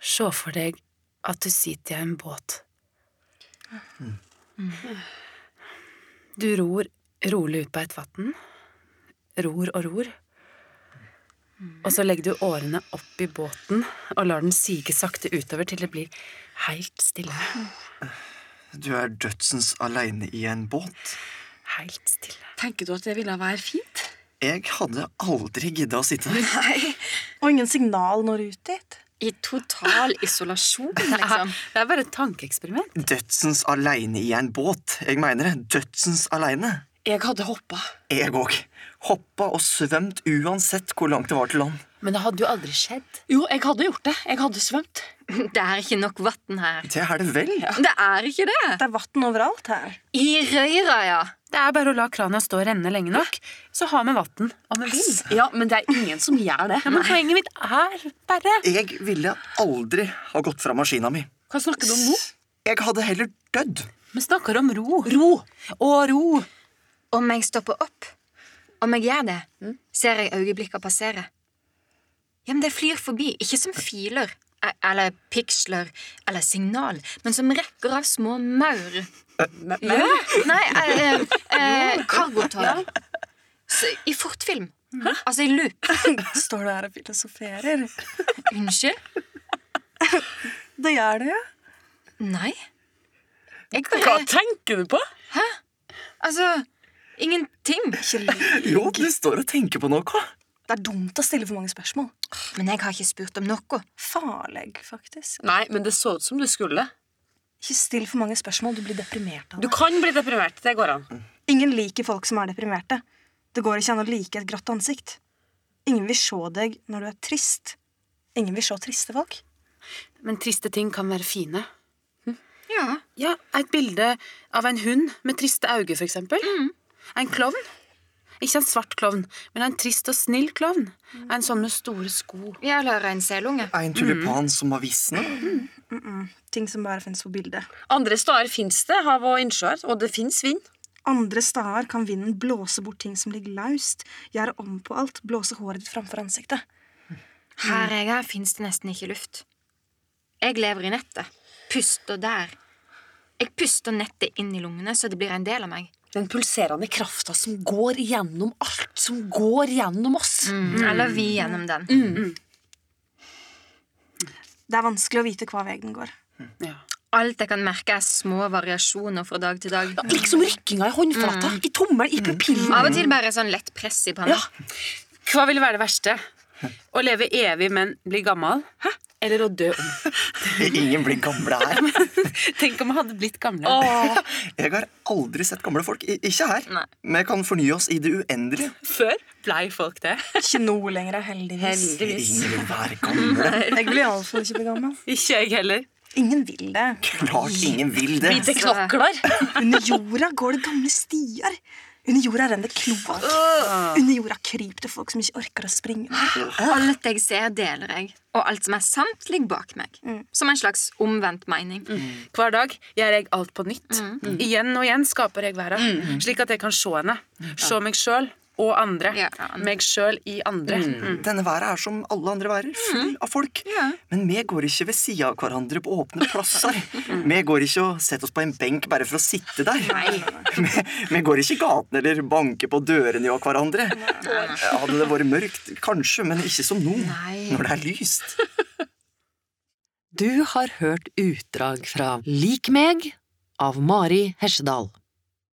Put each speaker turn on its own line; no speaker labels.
Se for deg at du sitter i en båt. Du ror rolig ut på et vann. Ror og ror. Og så legger du årene opp i båten og lar den sige sakte utover til det blir helt stille.
Du er dødsens aleine i en båt.
Helt stille.
Tenker du at det ville være fint?
Jeg hadde aldri gidda å sitte her.
Nei.
Og ingen signal når ut dit.
I total isolasjon, liksom.
Det er sånn. bare et tankeeksperiment.
Dødsens aleine i en båt. Jeg mener det. Dødsens aleine.
Jeg hadde hoppa.
Jeg òg. Hoppa og svømt uansett hvor langt det var til land.
Men det hadde jo aldri skjedd.
Jo, jeg hadde gjort det. Jeg hadde svømt.
Det er ikke nok vann her.
Det er det vel.
Det er ikke det.
Det er vann overalt her.
I Røyra, ja.
Det er bare å la krana stå og renne lenge nok, så har vi vann om vi vil.
Ja, men det er ingen som gjør det.
Ja, men poenget mitt er bare
Jeg ville aldri ha gått fra maskina mi.
Hva snakker du om nå?
Jeg hadde heller dødd.
Vi snakker om ro. Ro. Og ro.
Om jeg stopper opp, om jeg gjør det, ser jeg øyeblikkene passere. Ja, men det flyr forbi, ikke som filer, e- eller piksler, eller signal, men som rekker av små maur. Ja, nei, eh, eh, eh, kargotårer. Så I fortfilm. Altså i loop.
Står du her og filosoferer?
Unnskyld?
Det gjør det jo.
Nei. Jeg
Hva
bare
tenker du på?
Altså, ingenting.
Ikke lyg.
Jo, du står og tenker på noe.
Det er dumt å stille for mange spørsmål.
Men jeg har ikke spurt om noe.
Farlig, faktisk.
Nei, men det så ut som du skulle.
Ikke still for mange spørsmål. Du blir deprimert av
Du
det.
kan bli deprimert. Det går an.
Ingen liker folk som er deprimerte. Det går ikke an å like et grått ansikt. Ingen vil se deg når du er trist. Ingen vil se triste folk.
Men triste ting kan være fine.
Ja.
Ja, Et bilde av en hund med triste øyne, for eksempel. En klovn. Ikke en svart klovn, men en trist og snill klovn. En sånn med store sko.
Ja, eller en selunge.
En tulipan
Mm.
som har visnet.
Ting som bare finnes på bildet.
Andre steder fins det hav og innsjøer, og det fins vind.
Andre steder kan vinden blåse bort ting som ligger løst, gjøre om på alt, blåse håret ditt framfor ansiktet.
Her jeg er, fins det nesten ikke luft. Jeg lever i nettet. Puster der. Jeg puster nettet inn i lungene, så det blir en del av meg.
Den pulserende krafta som går gjennom alt, som går gjennom oss.
Mm. Eller vi gjennom den.
Det er vanskelig å vite hva vei den går.
Ja.
Alt jeg kan merke, er små variasjoner fra dag til dag.
Liksom rykkinga i håndflata, i tommelen, i pupillen.
Av og til bare sånn lett press i panna.
Hva ville være det verste? Å leve evig, men bli gammel? Eller å dø ung?
Ingen blir gamle her.
Tenk om vi hadde blitt gamle.
Jeg har aldri sett gamle folk. I ikke her.
Nei.
Vi kan fornye oss i det uendelige.
Før blei folk det.
Ikke nå lenger, heldigvis.
Ingen vil være gamle.
Jeg vil iallfall ikke bli gammel.
Ikke jeg heller.
Ingen vil det.
Klart ingen vil det.
Altså,
Hvite knokler.
Under jorda går det gamle stier. Under jorda renner det kloakk. Under jorda kryper det folk som ikke orker å springe.
Alt jeg ser, deler jeg. Og alt som er sant, ligger bak meg. Som en slags omvendt mening.
Hver dag gjør jeg alt på nytt. Igjen og igjen skaper jeg verden, slik at jeg kan se henne. Se meg sjøl og andre.
Ja.
Meg sjøl i andre. Mm.
Denne været er som alle andre værer, full av folk.
Mhm. Ja.
Men vi går ikke ved sida av hverandre på åpne plasser. Vi går ikke og setter oss på en benk bare for å sitte der. Vi, vi går ikke i gaten eller banker på dørene av hverandre. Hadde det vært mørkt, kanskje, men ikke som nå,
Nei.
når det er lyst.
Du har hørt utdrag fra Lik meg av Mari Hesjedal.